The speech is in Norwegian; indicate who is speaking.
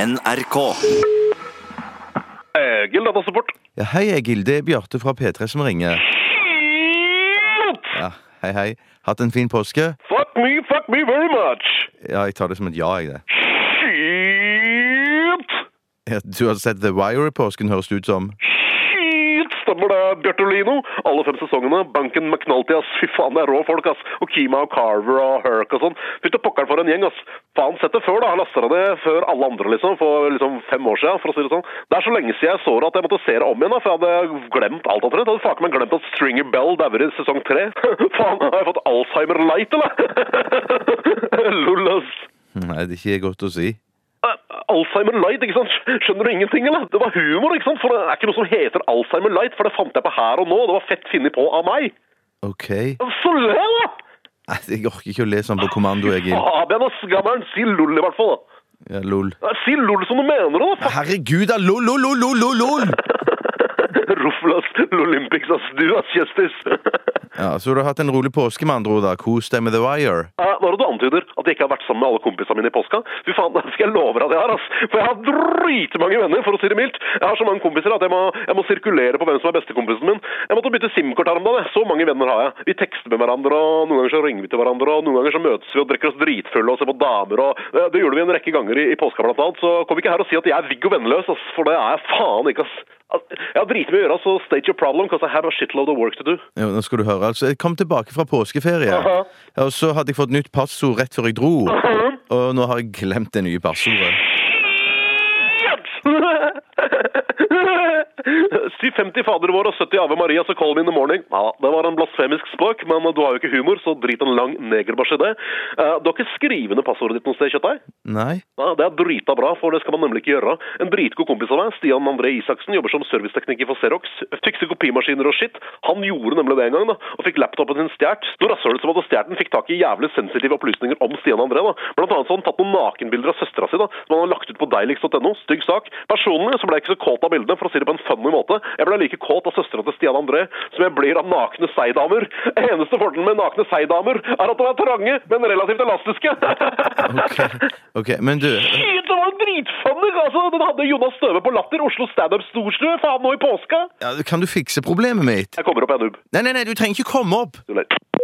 Speaker 1: NRK.
Speaker 2: Eh, Gilda Dasseport.
Speaker 3: Ja, hei, jeg er Gilde Det er Bjarte fra P3 som ringer. Ja, hei, hei. Hatt en fin påske?
Speaker 2: Fuck me, fuck me very much.
Speaker 3: Ja, jeg tar det som et ja, jeg det.
Speaker 2: Shit.
Speaker 3: Ja, Du har sett The Wire i påsken, høres det ut som.
Speaker 2: Shit, stemmer det, Bjarte Olino. Alle fem sesongene. Banken McNulty, ass. Fy faen, det er rå folk, ass. Og Kima og Carver og Herc og sånn. Fytte pokkeren for en gjeng, ass. Faen, sett det før, da. Jeg lasta det ned før alle andre, liksom. For liksom fem år siden, for å si det sånn. Det er så lenge siden jeg så det at jeg måtte se det om igjen, da. For jeg hadde glemt alt annet. Jeg hadde faen meg glemt at Stringer Bell dauer i sesong tre. faen, har jeg fått Alzheimer light, eller? Lol, ass.
Speaker 3: Nei, det er ikke godt å si.
Speaker 2: Eh, Alzheimer Light, ikke sant? Skjønner du ingenting, eller? Det var humor, ikke sant? For det er ikke noe som heter Alzheimer Light, for det fant jeg på her og nå. Det var fett funnet på av meg.
Speaker 3: OK.
Speaker 2: Så le, da!
Speaker 3: Nei, jeg orker ikke å le sånn på kommando, jeg, Gil.
Speaker 2: Fabian og skammeren, si lol i hvert fall, da.
Speaker 3: Ja, lol.
Speaker 2: Eh, Si lol som du mener, det, da.
Speaker 3: Herregud, da! Lol, lol, lol, lol, lol, lol!
Speaker 2: Faen, Ruffel, ass. Lolympics, ass. Du, ass, Kjestis. Eh,
Speaker 3: Ja, så du har hatt en rolig påske, med andre ord, da. Kos deg med The Wire.
Speaker 2: Eh, Nå er det du antyder at jeg ikke har vært sammen med alle kompisene mine i påska. Fy faen, det skal jeg love deg at jeg har, ass. For jeg har dritmange venner, for å si det mildt. Jeg har så mange kompiser at jeg må, jeg må sirkulere på hvem som er bestekompisen min. Jeg måtte bytte SIM-kort her om dagen. jeg. Så mange venner har jeg. Vi tekster med hverandre, og noen ganger så ringer vi til hverandre, og noen ganger så møtes vi og drikker oss dritfulle og ser på damer og eh, Det gjorde vi en rekke ganger i, i påska, blant annet. Så kom ikke her og si at jeg er Viggo Venneløs, ass. For det er jeg faen ikke, ass. Al- Jeg har dritmye å gjøre, så state your problem, because I have a shitload of work to do.
Speaker 3: Ja, nå skal du høre, altså. Jeg kom tilbake fra påskeferie,
Speaker 2: Aha.
Speaker 3: og så hadde jeg fått nytt passord rett før jeg dro. Og nå har jeg glemt det nye passordet.
Speaker 2: Si 50 fader vår og 70 Ave Maria, så call me in the morning. Ja, det var en blasfemisk spøk, men du har jo ikke humor, så drit en lang negerbæsj i det. Eh, Du har ikke skrivende passordet ditt noe sted, Kjøttdeig?
Speaker 3: Nei?
Speaker 2: Ja, det er drita bra, for det skal man nemlig ikke gjøre. En dritgod kompis av meg, Stian André Isaksen, jobber som servicetekniker for Xerox. Fikser kopimaskiner og shit. Han gjorde nemlig det en gang, da, og fikk laptopen sin stjålet. Noe rasshøl som hadde stjålet den, fikk tak i jævlig sensitive opplysninger om Stian André. da. Blant annet så har han tatt noen nakenbilder av søstera si, da, som han har lagt ut på deiligst.no. Stygg sak. Personlig så ble jeg ikke så kåt av bildene, for å si det på en funny måte. Jeg ble like kåt av søstera til Stian André som jeg blir av nakne seidamer. Eneste fordelen med nakne seidamer er at de er trange, men relativt elastiske.
Speaker 3: Ok, ok, men du
Speaker 2: Shit, det var dritfunny! Altså, den hadde Jonas Støve på latter, Oslo standup storstue, faen nå i påska!
Speaker 3: ja, Kan du fikse problemet mitt?
Speaker 2: Jeg kommer opp, jeg, noob.
Speaker 3: Nei, nei, nei, du trenger ikke komme opp
Speaker 2: Du ler.